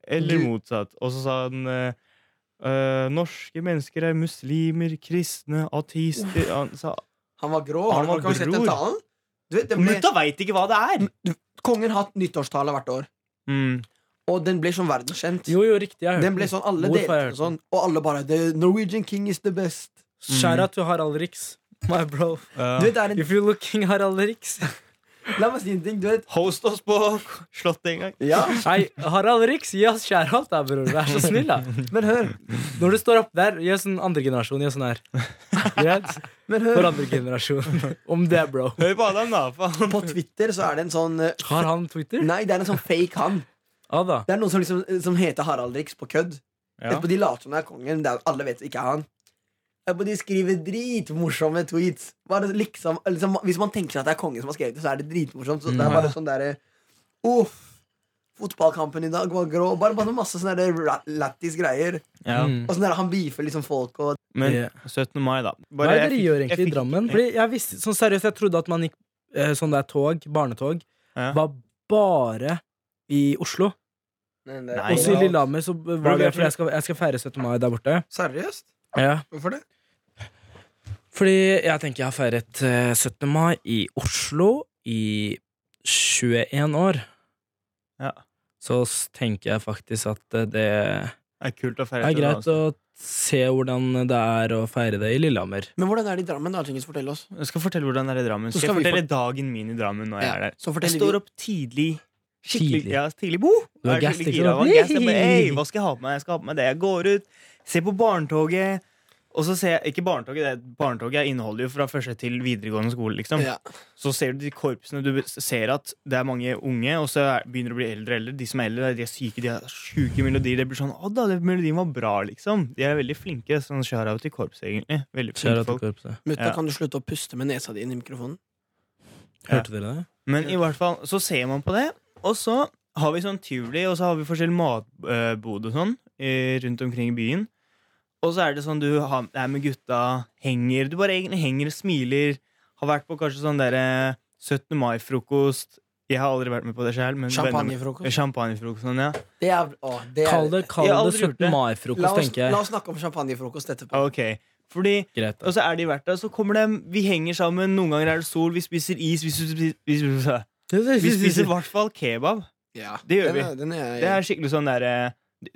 Speaker 4: Eller
Speaker 2: Du-
Speaker 4: motsatt. Og så sa han eh, eh, norske mennesker er muslimer, kristne, ateister Han sa
Speaker 2: Han var grå.
Speaker 4: Han
Speaker 2: Har du
Speaker 4: var
Speaker 2: kanskje sett den
Speaker 4: bror.
Speaker 2: talen? Du vet, den ble,
Speaker 4: Mutta veit ikke hva det er!
Speaker 2: kongen har hatt nyttårstale hvert år,
Speaker 4: Mm.
Speaker 2: og den blir sånn verdenskjent.
Speaker 3: Jo, jo, riktig. Jeg hørte
Speaker 2: Den ble sånn, alle
Speaker 3: Hvorfor
Speaker 2: delte
Speaker 3: har jeg
Speaker 2: den
Speaker 3: hørt den?
Speaker 2: sånn, og alle bare The Norwegian king is the best.
Speaker 3: Shout out to Harald Rix. My bro.
Speaker 2: Du vet, det er en,
Speaker 3: If you're looking Harald Rix
Speaker 2: la meg si en ting, du vet.
Speaker 4: Host oss på <laughs> Slottet en gang.
Speaker 2: Ja,
Speaker 3: Nei, Harald Rix, gi oss shout-out, da, bror. Vær så snill, da.
Speaker 2: men hør.
Speaker 3: Når du står opp der, gjør sånn andre generasjon, gjør sånn her. Greit?
Speaker 2: Men
Speaker 3: For
Speaker 2: hør.
Speaker 3: andre generasjon. Om det, bro.
Speaker 4: Hør på Adam, da, faen.
Speaker 2: På Twitter så er det en sånn eh,
Speaker 3: Har han Twitter?
Speaker 2: Nei, det er en sånn fake han.
Speaker 3: Ja da.
Speaker 2: Det er noen som, liksom, som heter Harald Rix på kødd.
Speaker 4: Ja.
Speaker 2: Etterpå de later som det er kongen. Det er, alle vet det ikke er han. Etterpå de skriver dritmorsomme tweets. Bare liksom, liksom, hvis man tenker seg at det er kongen som har skrevet det, så er det dritmorsomt. Så det
Speaker 4: Mm.
Speaker 2: er bare sånn derre Uff! Fotballkampen i dag var grå. Bare, bare masse sånne der rat- lættis greier.
Speaker 4: Ja.
Speaker 3: Mm.
Speaker 2: Og sånn der, han beefer liksom folk og
Speaker 4: Men
Speaker 3: Ja.
Speaker 4: 17. mai, da.
Speaker 3: Hva
Speaker 4: Bare
Speaker 3: er det
Speaker 4: jeg
Speaker 3: dere
Speaker 4: fikk-
Speaker 3: gjør
Speaker 4: jeg
Speaker 3: egentlig i
Speaker 4: fikk-
Speaker 3: Drammen? Fordi jeg visste, sånn seriøst, jeg trodde at man gikk eh, sånn der tog, barnetog,
Speaker 4: Ja.
Speaker 3: var bare i Oslo.
Speaker 4: Nei,
Speaker 3: Også i
Speaker 4: ja.
Speaker 3: Lillehammer så
Speaker 4: Bro,
Speaker 3: var det
Speaker 4: jeg
Speaker 3: fordi jeg skal, jeg skal feire 17. mai der borte.
Speaker 2: Seriøst?
Speaker 3: Ja.
Speaker 2: Hvorfor det?
Speaker 3: Fordi jeg tenker jeg har feiret eh, 17. mai i Oslo i 21 år.
Speaker 4: Ja.
Speaker 3: Så s- tenker jeg faktisk at eh, det
Speaker 4: Det er kult å feire
Speaker 3: er
Speaker 4: til altså. det,
Speaker 3: greit å se hvordan det er å feire det i Lillehammer.
Speaker 2: Men hvordan er det i Drammen? da, Tingis? Fortell oss.
Speaker 4: altså. Jeg skal fortelle hvordan det er i Drammen.
Speaker 2: Så
Speaker 4: Skal jeg
Speaker 2: skal vi
Speaker 4: fortelle dagen min i Drammen når jeg er der? Jeg
Speaker 2: Så forteller
Speaker 4: står
Speaker 2: vi
Speaker 4: opp tidlig.
Speaker 3: Tidlig.
Speaker 4: Skikkelig ja, tidlig bo.
Speaker 3: Du er gass, ikke sant?
Speaker 4: Hey, hva skal jeg ha på meg? Jeg skal ha på meg det. Jeg går ut, ser på Barnetoget. Og så ser jeg, ikke barnetoget, det er- barnetoget inneholder jo fra første til videregående skole. liksom
Speaker 2: ja.
Speaker 4: Så ser du de korpsene, du ser at det er mange unge, og så er- begynner det å bli eldre og eldre. De som er eldre, de er syke, de har sjuke melodier. Det blir sånn 'Å da, den melodien var bra', liksom. De er veldig flinke. Sånn shout-out til korpset, egentlig. Veldig flinke
Speaker 3: Kjære til
Speaker 4: folk.
Speaker 3: korpset.
Speaker 2: Mutta,
Speaker 4: Ja.
Speaker 2: kan du slutte å puste med nesa di inn i mikrofonen?
Speaker 3: Hørte dere det?
Speaker 4: Men i hvert fall, så ser man på det, og så har vi sånn tivoli, og så har vi forskjellig matbod og sånn eh, rundt omkring i byen. Og så er det sånn du har, er med gutta, henger Du bare egentlig henger og smiler. Har vært på kanskje sånn derre 17. mai-frokost. Jeg har aldri vært med på det sjøl, men venner-
Speaker 2: Champagnefrokost.
Speaker 4: Champagnefrokosten, sånn, ja.
Speaker 2: Det er, å, det er,
Speaker 3: Kall det, kall
Speaker 4: Jeg har
Speaker 3: det
Speaker 4: aldri
Speaker 3: 17.
Speaker 4: gjort det.
Speaker 2: la,
Speaker 3: mai-frokost,
Speaker 2: oss,
Speaker 3: tenker
Speaker 2: la
Speaker 3: jeg.
Speaker 2: oss snakke om champagnefrokost etterpå.
Speaker 4: Ah, Ok. Fordi,
Speaker 3: Greit. altså. da.
Speaker 4: og så er de verdt det. Så kommer de, vi henger sammen, noen ganger er det sol, vi spiser is, vi spiser, vi spiser, vi spiser i hvert fall kebab.
Speaker 2: Ja,
Speaker 4: Det gjør
Speaker 2: den
Speaker 4: vi.
Speaker 2: Er, den er,
Speaker 4: Det er skikkelig sånn derre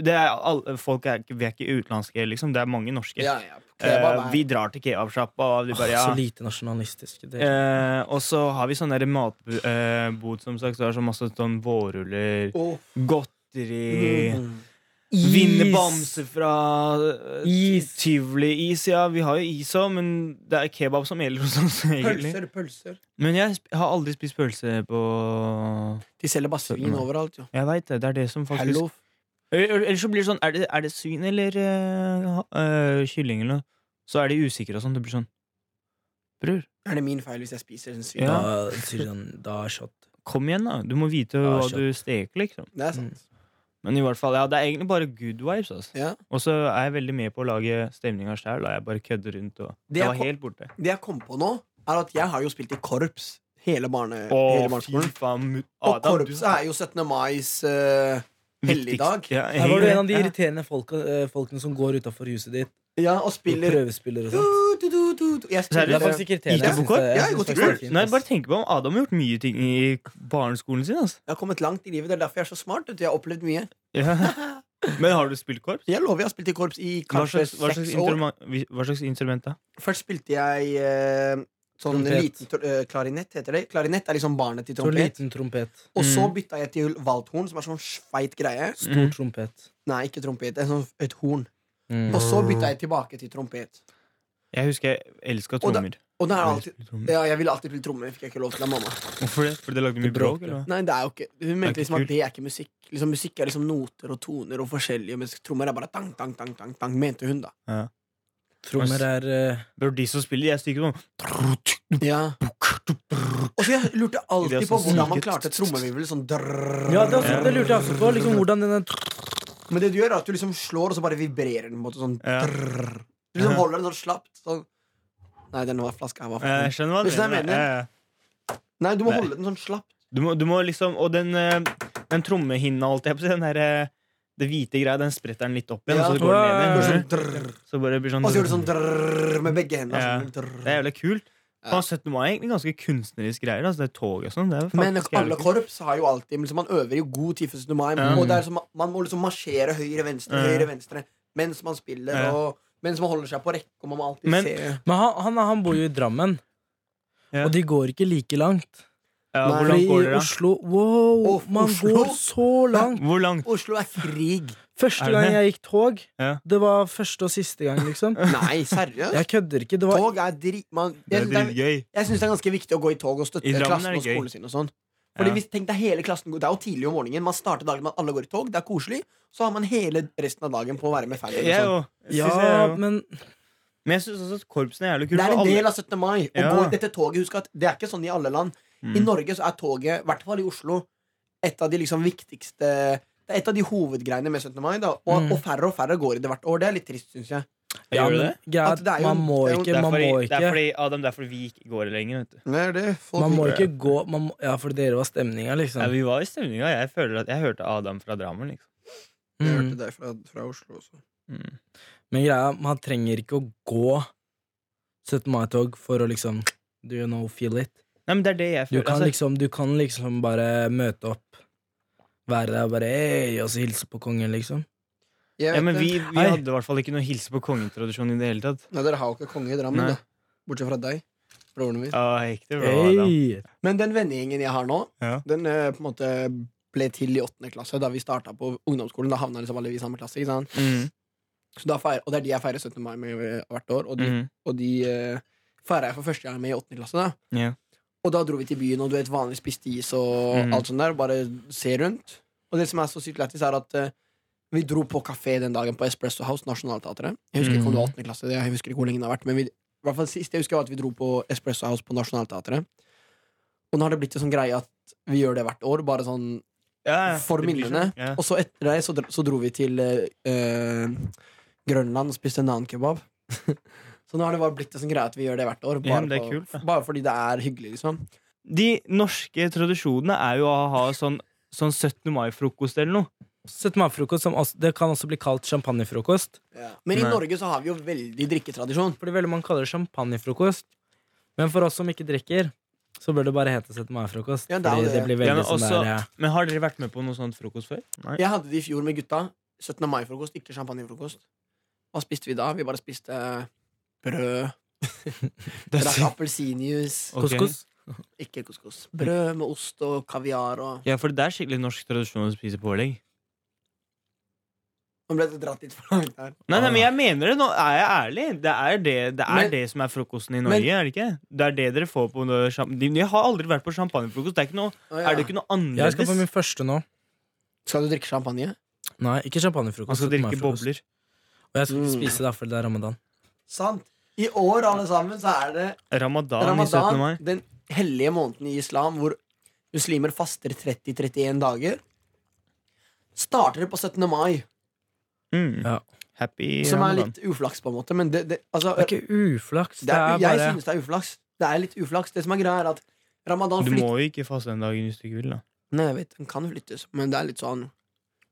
Speaker 4: det er all, folk er, ikke- vi er ikke utenlandske, liksom. Det er mange norske.
Speaker 2: ja, ja. Kebab
Speaker 4: Eh,
Speaker 2: er
Speaker 4: vi drar til kebabsjappa, og de
Speaker 3: Åh,
Speaker 4: bare
Speaker 3: Så
Speaker 4: ja.
Speaker 3: lite nasjonalistisk. Det.
Speaker 4: Eh, og så har vi sånn derre matbod, eh, bod, som sagt. Så er det så masse sånn vårruller,
Speaker 2: Åh.
Speaker 4: godteri
Speaker 2: Mm.
Speaker 3: Is!
Speaker 4: Vinne bamse fra eh,
Speaker 3: Is.
Speaker 4: Tivoli-is, ja. Vi har jo is òg, men det er kebab som gjelder hos oss. egentlig
Speaker 2: Pølser, pølser.
Speaker 4: Men jeg sp- har aldri spist pølse på
Speaker 2: De selger bare svin overalt, jo.
Speaker 4: Jeg veit det. Det er det som Mm. faktisk
Speaker 2: Hallo.
Speaker 4: Eller eller så blir det sånn Er det, er det svin eller eh, ha- eh, kylling eller noe? Så er de usikre og sånn. Det blir sånn Bror,
Speaker 2: Er det min feil hvis jeg spiser en svin?
Speaker 4: Ja.
Speaker 3: Da sier han da er shot.
Speaker 4: kom igjen, da. Du må vite
Speaker 3: Ja,
Speaker 4: hva
Speaker 3: skjønt.
Speaker 4: du steker, liksom.
Speaker 2: Det er sant.
Speaker 4: Men i hvert fall, ja, det er egentlig bare good vibes. Altså.
Speaker 2: Ja.
Speaker 4: Og så er jeg veldig med på å lage stemninga sjæl. Jeg bare kødder rundt. Og...
Speaker 2: Det
Speaker 4: Det
Speaker 2: er
Speaker 4: var
Speaker 2: ko-
Speaker 4: helt borte.
Speaker 2: Det jeg kom på nå, er at jeg har jo spilt i korps hele,
Speaker 4: Å,
Speaker 2: barne, hele
Speaker 4: fy
Speaker 2: barneskolen.
Speaker 4: faen. mu-
Speaker 2: Og
Speaker 4: Adam, du-
Speaker 2: korpset er jo 17. mais eh, helligdag.
Speaker 4: Viktigst. Ja,
Speaker 3: Her var du en av de
Speaker 4: ja.
Speaker 3: irriterende folk, eh, folkene som går utafor huset ditt
Speaker 2: Ja, og
Speaker 3: og
Speaker 2: spiller
Speaker 3: prøvespiller og sånn.
Speaker 2: du,
Speaker 3: sånt.
Speaker 2: du, du, du, du. Jeg
Speaker 3: Det
Speaker 4: Seriøst?
Speaker 2: spiller
Speaker 3: er faktisk ikke
Speaker 4: Gikk
Speaker 3: irriterende. jeg
Speaker 4: du på
Speaker 3: synes det-
Speaker 2: korps?
Speaker 3: jeg
Speaker 2: Ja,
Speaker 3: synes
Speaker 2: jeg
Speaker 3: faktisk
Speaker 2: går til
Speaker 3: det er fint,
Speaker 4: Nei,
Speaker 3: ass.
Speaker 4: bare tenk på om Adam har gjort mye ting i barneskolen sin. Altså.
Speaker 2: Jeg har kommet langt i livet. Det er derfor jeg er så smart. Vet du. Jeg har opplevd mye.
Speaker 4: Ja. <laughs> Men har du spilt korps?
Speaker 2: Jeg lover, jeg har spilt i korps i
Speaker 4: Hva
Speaker 2: kanskje
Speaker 4: slags, hva, slags
Speaker 2: seks år.
Speaker 4: instrument, hva slags instrument, da?
Speaker 2: Først spilte jeg eh, Sånn
Speaker 3: Trompet.
Speaker 2: liten tr- eh, klarinett heter det. Klarinett er liksom barnet til
Speaker 3: Så
Speaker 2: trompet.
Speaker 3: liten trompet.
Speaker 2: Og så
Speaker 4: Mm.
Speaker 2: bytta jeg til valthorn, som er sånn sveit greie.
Speaker 3: Stor
Speaker 4: Mm.
Speaker 3: trompet.
Speaker 2: Nei, ikke trompet. Det er sånn et horn.
Speaker 3: Mm.
Speaker 2: Og så bytta jeg tilbake til trompet.
Speaker 4: Jeg husker jeg elska
Speaker 2: Og da-
Speaker 4: trommer.
Speaker 2: Og da er det
Speaker 4: Jeg
Speaker 2: alltid
Speaker 4: elsket trommer.
Speaker 2: ja, Jeg ville alltid spille trommer, fikk jeg ikke lov til av mamma.
Speaker 4: Hvorfor det? Fordi det lagde
Speaker 3: Du
Speaker 4: mye bråk?
Speaker 3: bråkte.
Speaker 4: eller hva?
Speaker 2: Nei, det er jo ikke Hun mente
Speaker 4: ikke
Speaker 2: liksom at
Speaker 4: kult.
Speaker 2: det er ikke musikk. Liksom Musikk er liksom noter og toner og forskjellige, mens trommer er bare tang, tang, tang, tang, tang mente hun, da.
Speaker 3: Trommer er eh,
Speaker 4: Bro, de som spiller, jeg stykker sånn
Speaker 2: Ja. Og så jeg
Speaker 4: Det
Speaker 2: lurte
Speaker 4: er
Speaker 2: alltid på
Speaker 4: sånn
Speaker 2: hvordan man
Speaker 4: sniket.
Speaker 2: klarte trommevirvel sånn drrrr.
Speaker 3: Ja, det, er også- det lurte jeg også på. Liksom, hvordan den
Speaker 2: Men det du gjør, er at du liksom slår, og så bare vibrerer den på en måte sånn
Speaker 4: Ja.
Speaker 2: drrrr. Du liksom
Speaker 4: Ja.
Speaker 2: holder den sånn slapt. Sånn. Nei, den var flaska her. var for-
Speaker 4: Eh, Jeg skjønner hva
Speaker 2: Hvis det er
Speaker 4: du mener.
Speaker 2: meningen.
Speaker 4: Ja, ja.
Speaker 2: Nei, du må
Speaker 4: Nei.
Speaker 2: holde den sånn slapt.
Speaker 4: Du må, du må liksom Og den, eh, den trommehinna, holdt jeg på å si, den der, eh, det hvite greia, den spretter den litt opp igjen,
Speaker 2: Ja.
Speaker 4: og så går den
Speaker 3: Ja, ja,
Speaker 4: ned
Speaker 2: Gjør
Speaker 4: igjen.
Speaker 2: sånn drrrr.
Speaker 4: skjønner du? Så bare blir sånn
Speaker 2: Og så gjør du sånn drrrr med begge hendene.
Speaker 4: Ja.
Speaker 2: Sånn, drrrr.
Speaker 4: Det er jævlig kult.
Speaker 2: Ja.
Speaker 4: Faen, 17. mai er egentlig ganske kunstnerisk greier. Altså, det er tog og sånn. Det er
Speaker 2: Men
Speaker 4: faktisk
Speaker 2: alle
Speaker 4: jævlig kult.
Speaker 2: korps har jo alltid liksom, Man øver jo god tid for 17. mai.
Speaker 4: Ja.
Speaker 2: Og det er liksom, man må liksom marsjere høyre-venstre
Speaker 4: Ja.
Speaker 2: høyre-venstre mens man spiller.
Speaker 4: Ja.
Speaker 2: Og mens man holder seg på rekke. Og man må alltid
Speaker 4: Men-
Speaker 2: se
Speaker 3: Men han, han, han bor jo i Drammen,
Speaker 4: Ja.
Speaker 3: og de går ikke like langt.
Speaker 4: Ja,
Speaker 2: Nei.
Speaker 4: hvor
Speaker 3: Fordi
Speaker 4: langt går
Speaker 3: i
Speaker 4: dere, da?
Speaker 3: Oslo Wow,
Speaker 2: Å,
Speaker 3: man
Speaker 2: Oslo?
Speaker 3: går så langt!
Speaker 4: Hvor langt?
Speaker 2: Oslo er krig.
Speaker 3: Første
Speaker 4: Er det
Speaker 3: gang
Speaker 4: det?
Speaker 3: jeg gikk tog,
Speaker 4: Ja.
Speaker 3: det var første og siste gang, liksom.
Speaker 4: <laughs>
Speaker 2: Nei, seriøst?
Speaker 3: Jeg kødder ikke. Det var
Speaker 2: Tog er drit... Man,
Speaker 4: Det
Speaker 2: jeg
Speaker 4: er
Speaker 2: syns det er, sånn-
Speaker 4: dritgøy.
Speaker 2: jeg synes det er ganske viktig å gå i tog og støtte
Speaker 4: I Drammen er
Speaker 2: klassen
Speaker 4: det
Speaker 2: og
Speaker 4: gøy.
Speaker 2: skolen sin. og sånn Fordi
Speaker 4: Ja.
Speaker 2: hvis, tenk deg hele klassen går- Det er jo tidlig om morgenen. Man starter dagen med at alle går i tog. Det er koselig. Så har man hele resten av dagen på å være med sånn. ferdig.
Speaker 4: Jeg jo. Jeg
Speaker 3: Ja,
Speaker 4: synes jeg jo.
Speaker 3: men
Speaker 4: Men jeg syns også at korpsen er jævlig kult.
Speaker 2: Det er
Speaker 4: for
Speaker 2: en
Speaker 4: alle-
Speaker 2: del av 17. mai. Og
Speaker 4: Ja.
Speaker 2: går dette toget, husk at Det er ikke sånn i alle land. I
Speaker 4: Mm.
Speaker 2: Norge så er toget, i hvert fall i Oslo, et av de liksom viktigste Det er et av de hovedgreiene med 17. mai. Da. Og,
Speaker 3: Mm.
Speaker 2: og færre og færre går i det hvert år. Det er litt trist, syns jeg.
Speaker 3: ja,
Speaker 4: Gjør du
Speaker 3: men
Speaker 4: det?
Speaker 3: greia
Speaker 2: At det er
Speaker 3: er at
Speaker 2: jo-
Speaker 3: man
Speaker 2: det
Speaker 3: må
Speaker 2: er
Speaker 4: Det
Speaker 2: jo-
Speaker 3: ikke
Speaker 4: er
Speaker 3: Man
Speaker 4: fordi,
Speaker 3: må
Speaker 4: det er
Speaker 3: ikke
Speaker 4: fordi, Adam, det er fordi vi ikke går lenger. Vet du.
Speaker 3: man må ikke gå man må, Ja, for dere var stemninga, liksom.
Speaker 4: Ja, vi var i stemninga. Jeg føler at jeg hørte Adam fra Drammen. liksom Mm.
Speaker 3: Mm.
Speaker 2: deg fra, Oslo også.
Speaker 3: Men greia, man trenger ikke å gå 17. mai-tog for å liksom Do you know, feel it?
Speaker 4: Nei, men det er det jeg
Speaker 3: Du
Speaker 4: føler.
Speaker 3: kan
Speaker 4: Altså,
Speaker 3: liksom, du kan liksom bare møte opp, være der og bare hey, og så hilse på kongen, liksom.
Speaker 4: ja, men vi, vi
Speaker 3: Hei.
Speaker 4: hadde i hvert fall ikke noe hilse på kongetradisjon i det hele tatt.
Speaker 2: Nei, dere har jo ikke konge i
Speaker 4: Nei.
Speaker 2: Bortsett fra deg. Broren min.
Speaker 4: Ah, hekte, bra, Adam.
Speaker 3: Hey.
Speaker 2: Men den vennegjengen jeg har nå,
Speaker 4: Ja.
Speaker 2: den eh, på en måte ble til i åttende klasse, da vi starta på ungdomsskolen. Da havna liksom alle vi i samme klasse. Ikke sant?
Speaker 4: Mm.
Speaker 2: Så da feir, og det er de jeg feirer 17. mai med eh, hvert år. Og de,
Speaker 4: Mhm.
Speaker 2: og de eh, feira jeg for første gang med i åttende klasse. da
Speaker 4: Ja.
Speaker 2: Og da dro vi til byen, og du vet vanlig spiste is og
Speaker 4: Mhm.
Speaker 2: alt sånt der. Bare se rundt. Og det som er så sykt lættis, er at eh, vi dro på kafé den dagen på Espresso House, Nationaltheatret. Jeg husker ikke om
Speaker 4: Mhm.
Speaker 2: det var 8. klasse, jeg husker ikke hvor lenge det har vært. Men vi, i hvert fall sist jeg husker, var at vi dro på Espresso House på Nationaltheatret. Og nå har det blitt en sånn greie at vi gjør det hvert år, bare sånn.
Speaker 4: Ja, ja,
Speaker 2: For
Speaker 4: det blir sånn.
Speaker 2: minnene.
Speaker 4: Ja.
Speaker 2: Og så etter det så dro, så dro vi til eh, eh, Grønland og spiste nankebab. <laughs> så nå har det bare blitt en sånn greie at vi gjør det hvert år.
Speaker 4: Ja,
Speaker 2: Bare,
Speaker 4: men det er
Speaker 2: på,
Speaker 4: kult, da.
Speaker 2: bare fordi det er hyggelig, liksom.
Speaker 4: De norske tradisjonene er jo å ha sånn, sånn 17. mai-frokost eller noe.
Speaker 3: 17. mai-frokost, som også, det kan også bli kalt champagnefrokost.
Speaker 2: Men i
Speaker 4: Nei.
Speaker 2: Norge så har vi jo veldig drikketradisjon.
Speaker 3: Fordi veldig mange kaller det champagnefrokost. Men for oss som ikke drikker, så bør det bare hete 17. mai-frokost.
Speaker 2: Ja, det er
Speaker 3: fordi
Speaker 2: det.
Speaker 3: det blir
Speaker 4: Ja,
Speaker 3: veldig
Speaker 4: men,
Speaker 3: sånn
Speaker 4: også,
Speaker 3: der ja.
Speaker 4: men har dere vært med på noe sånt frokost før? Nei.
Speaker 2: Jeg hadde det i fjor med gutta. 17. mai-frokost, ikke champagnefrokost. Hva spiste vi da? Vi bare spiste eh, brød.
Speaker 4: Det er
Speaker 2: Drakk
Speaker 4: sykt.
Speaker 2: appelsinjuice.
Speaker 4: Ok.
Speaker 3: Couscous.
Speaker 2: Ikke couscous. Brød med ost og kaviar og
Speaker 4: Ja, for det er skikkelig norsk tradisjon å spise pålegg.
Speaker 2: Nå ble det dratt litt for langt her.
Speaker 4: Nei, nei, men jeg mener det. Nå er jeg ærlig. Det er det, det, er
Speaker 2: Men-
Speaker 4: det som er frokosten i Norge. er Det ikke? Det er det dere får på noe champ- De de har aldri vært på champagnefrokost. Det er, ikke noe,
Speaker 2: Å, ja.
Speaker 4: er det ikke noe
Speaker 3: Jeg skal
Speaker 4: annerledes?
Speaker 3: på min første nå.
Speaker 2: Skal du drikke champagne?
Speaker 3: Nei, ikke
Speaker 4: Man
Speaker 3: champagnefrokost.
Speaker 4: skal
Speaker 3: 17.
Speaker 4: drikke
Speaker 3: mai-frokost.
Speaker 4: bobler.
Speaker 3: Og jeg skal
Speaker 2: Mm.
Speaker 3: spise da, fordi det er ramadan.
Speaker 2: Sant. I år, alle sammen, så er det
Speaker 4: Ramadan, i 17. mai.
Speaker 2: ramadan. Den hellige måneden i islam hvor muslimer faster 30-31 dager. Starter det på 17. mai,
Speaker 4: Mm.
Speaker 3: Ja.
Speaker 4: Happy
Speaker 2: som er
Speaker 4: ramadan.
Speaker 2: litt uflaks, på en måte. Men det, det, altså,
Speaker 3: Det er ikke uflaks.
Speaker 2: Det er, jeg
Speaker 3: bare
Speaker 2: synes det er uflaks. Det er litt uflaks. Det som er greia, er at ramadan
Speaker 4: Du
Speaker 2: flytter
Speaker 4: må jo ikke faste den dagen hvis du ikke vil. da
Speaker 2: Nei, jeg vet, den kan flyttes, men det er litt sånn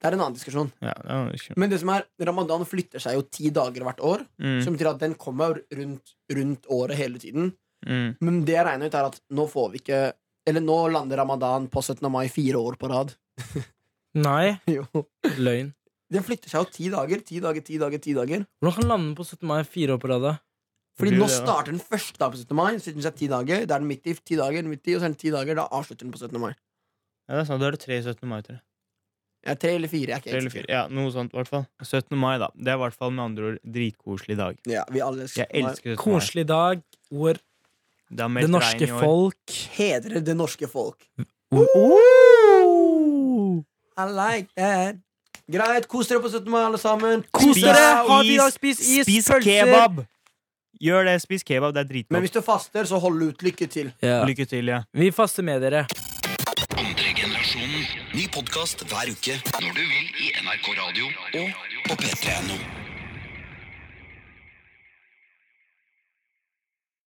Speaker 2: Det er en annen diskusjon.
Speaker 4: ja, det er jo ikke-
Speaker 2: Men det som er, ramadan flytter seg jo ti dager hvert år,
Speaker 4: mm.
Speaker 2: som betyr at den kommer rundt, rundt året hele tiden.
Speaker 4: Mm.
Speaker 2: Men det jeg regner ut, er at nå får vi ikke Eller nå lander ramadan på 17. mai fire år på rad. <laughs>
Speaker 3: Nei,
Speaker 2: Jo.
Speaker 3: løgn.
Speaker 2: Den flytter seg jo ti dager. Ti dager, ti dager, ti dager.
Speaker 3: Hvordan kan lande på 17. mai fire år på rad? da?
Speaker 2: Fordi
Speaker 4: Blir
Speaker 2: nå
Speaker 4: det, ja.
Speaker 2: starter den første dagen på 17. mai. Så er det ti dager, da er den midt i, ti dager, midt i, og så er den ti dager. Da avslutter den på 17. mai.
Speaker 4: Ja, det er sant, Da er det tre 17. mai, tror jeg.
Speaker 2: Ja, tre eller fire. Jeg er ikke
Speaker 4: Tre
Speaker 2: helt
Speaker 4: eller fire.
Speaker 2: sikker.
Speaker 4: Ja, noe sånt, i hvert fall. 17. mai, da. Det er i hvert fall med andre ord dritkoselig dag.
Speaker 2: Ja, vi alle
Speaker 4: Jeg elsker 17. mai.
Speaker 3: Koselig dag hvor
Speaker 4: Det, har meldt
Speaker 3: det norske
Speaker 4: regn i år.
Speaker 3: folk
Speaker 2: Hedrer det norske folk. I like that. Greit, kos dere på 17. mai, alle sammen.
Speaker 3: Kos
Speaker 4: Spis
Speaker 3: dere! Ha det i
Speaker 4: is.
Speaker 3: dag! Spis is,
Speaker 4: Spis
Speaker 3: pølser!
Speaker 4: kebab! Gjør det. Spis kebab. Det er
Speaker 2: Men
Speaker 4: dritgodt.
Speaker 2: hvis du faster, så hold ut. Lykke til.
Speaker 3: Ja.
Speaker 4: Lykke til, ja.
Speaker 3: Vi faster med dere.
Speaker 1: Andre generasjonen. Ny podkast hver uke. Når du vil i NRK Radio og på p3.no.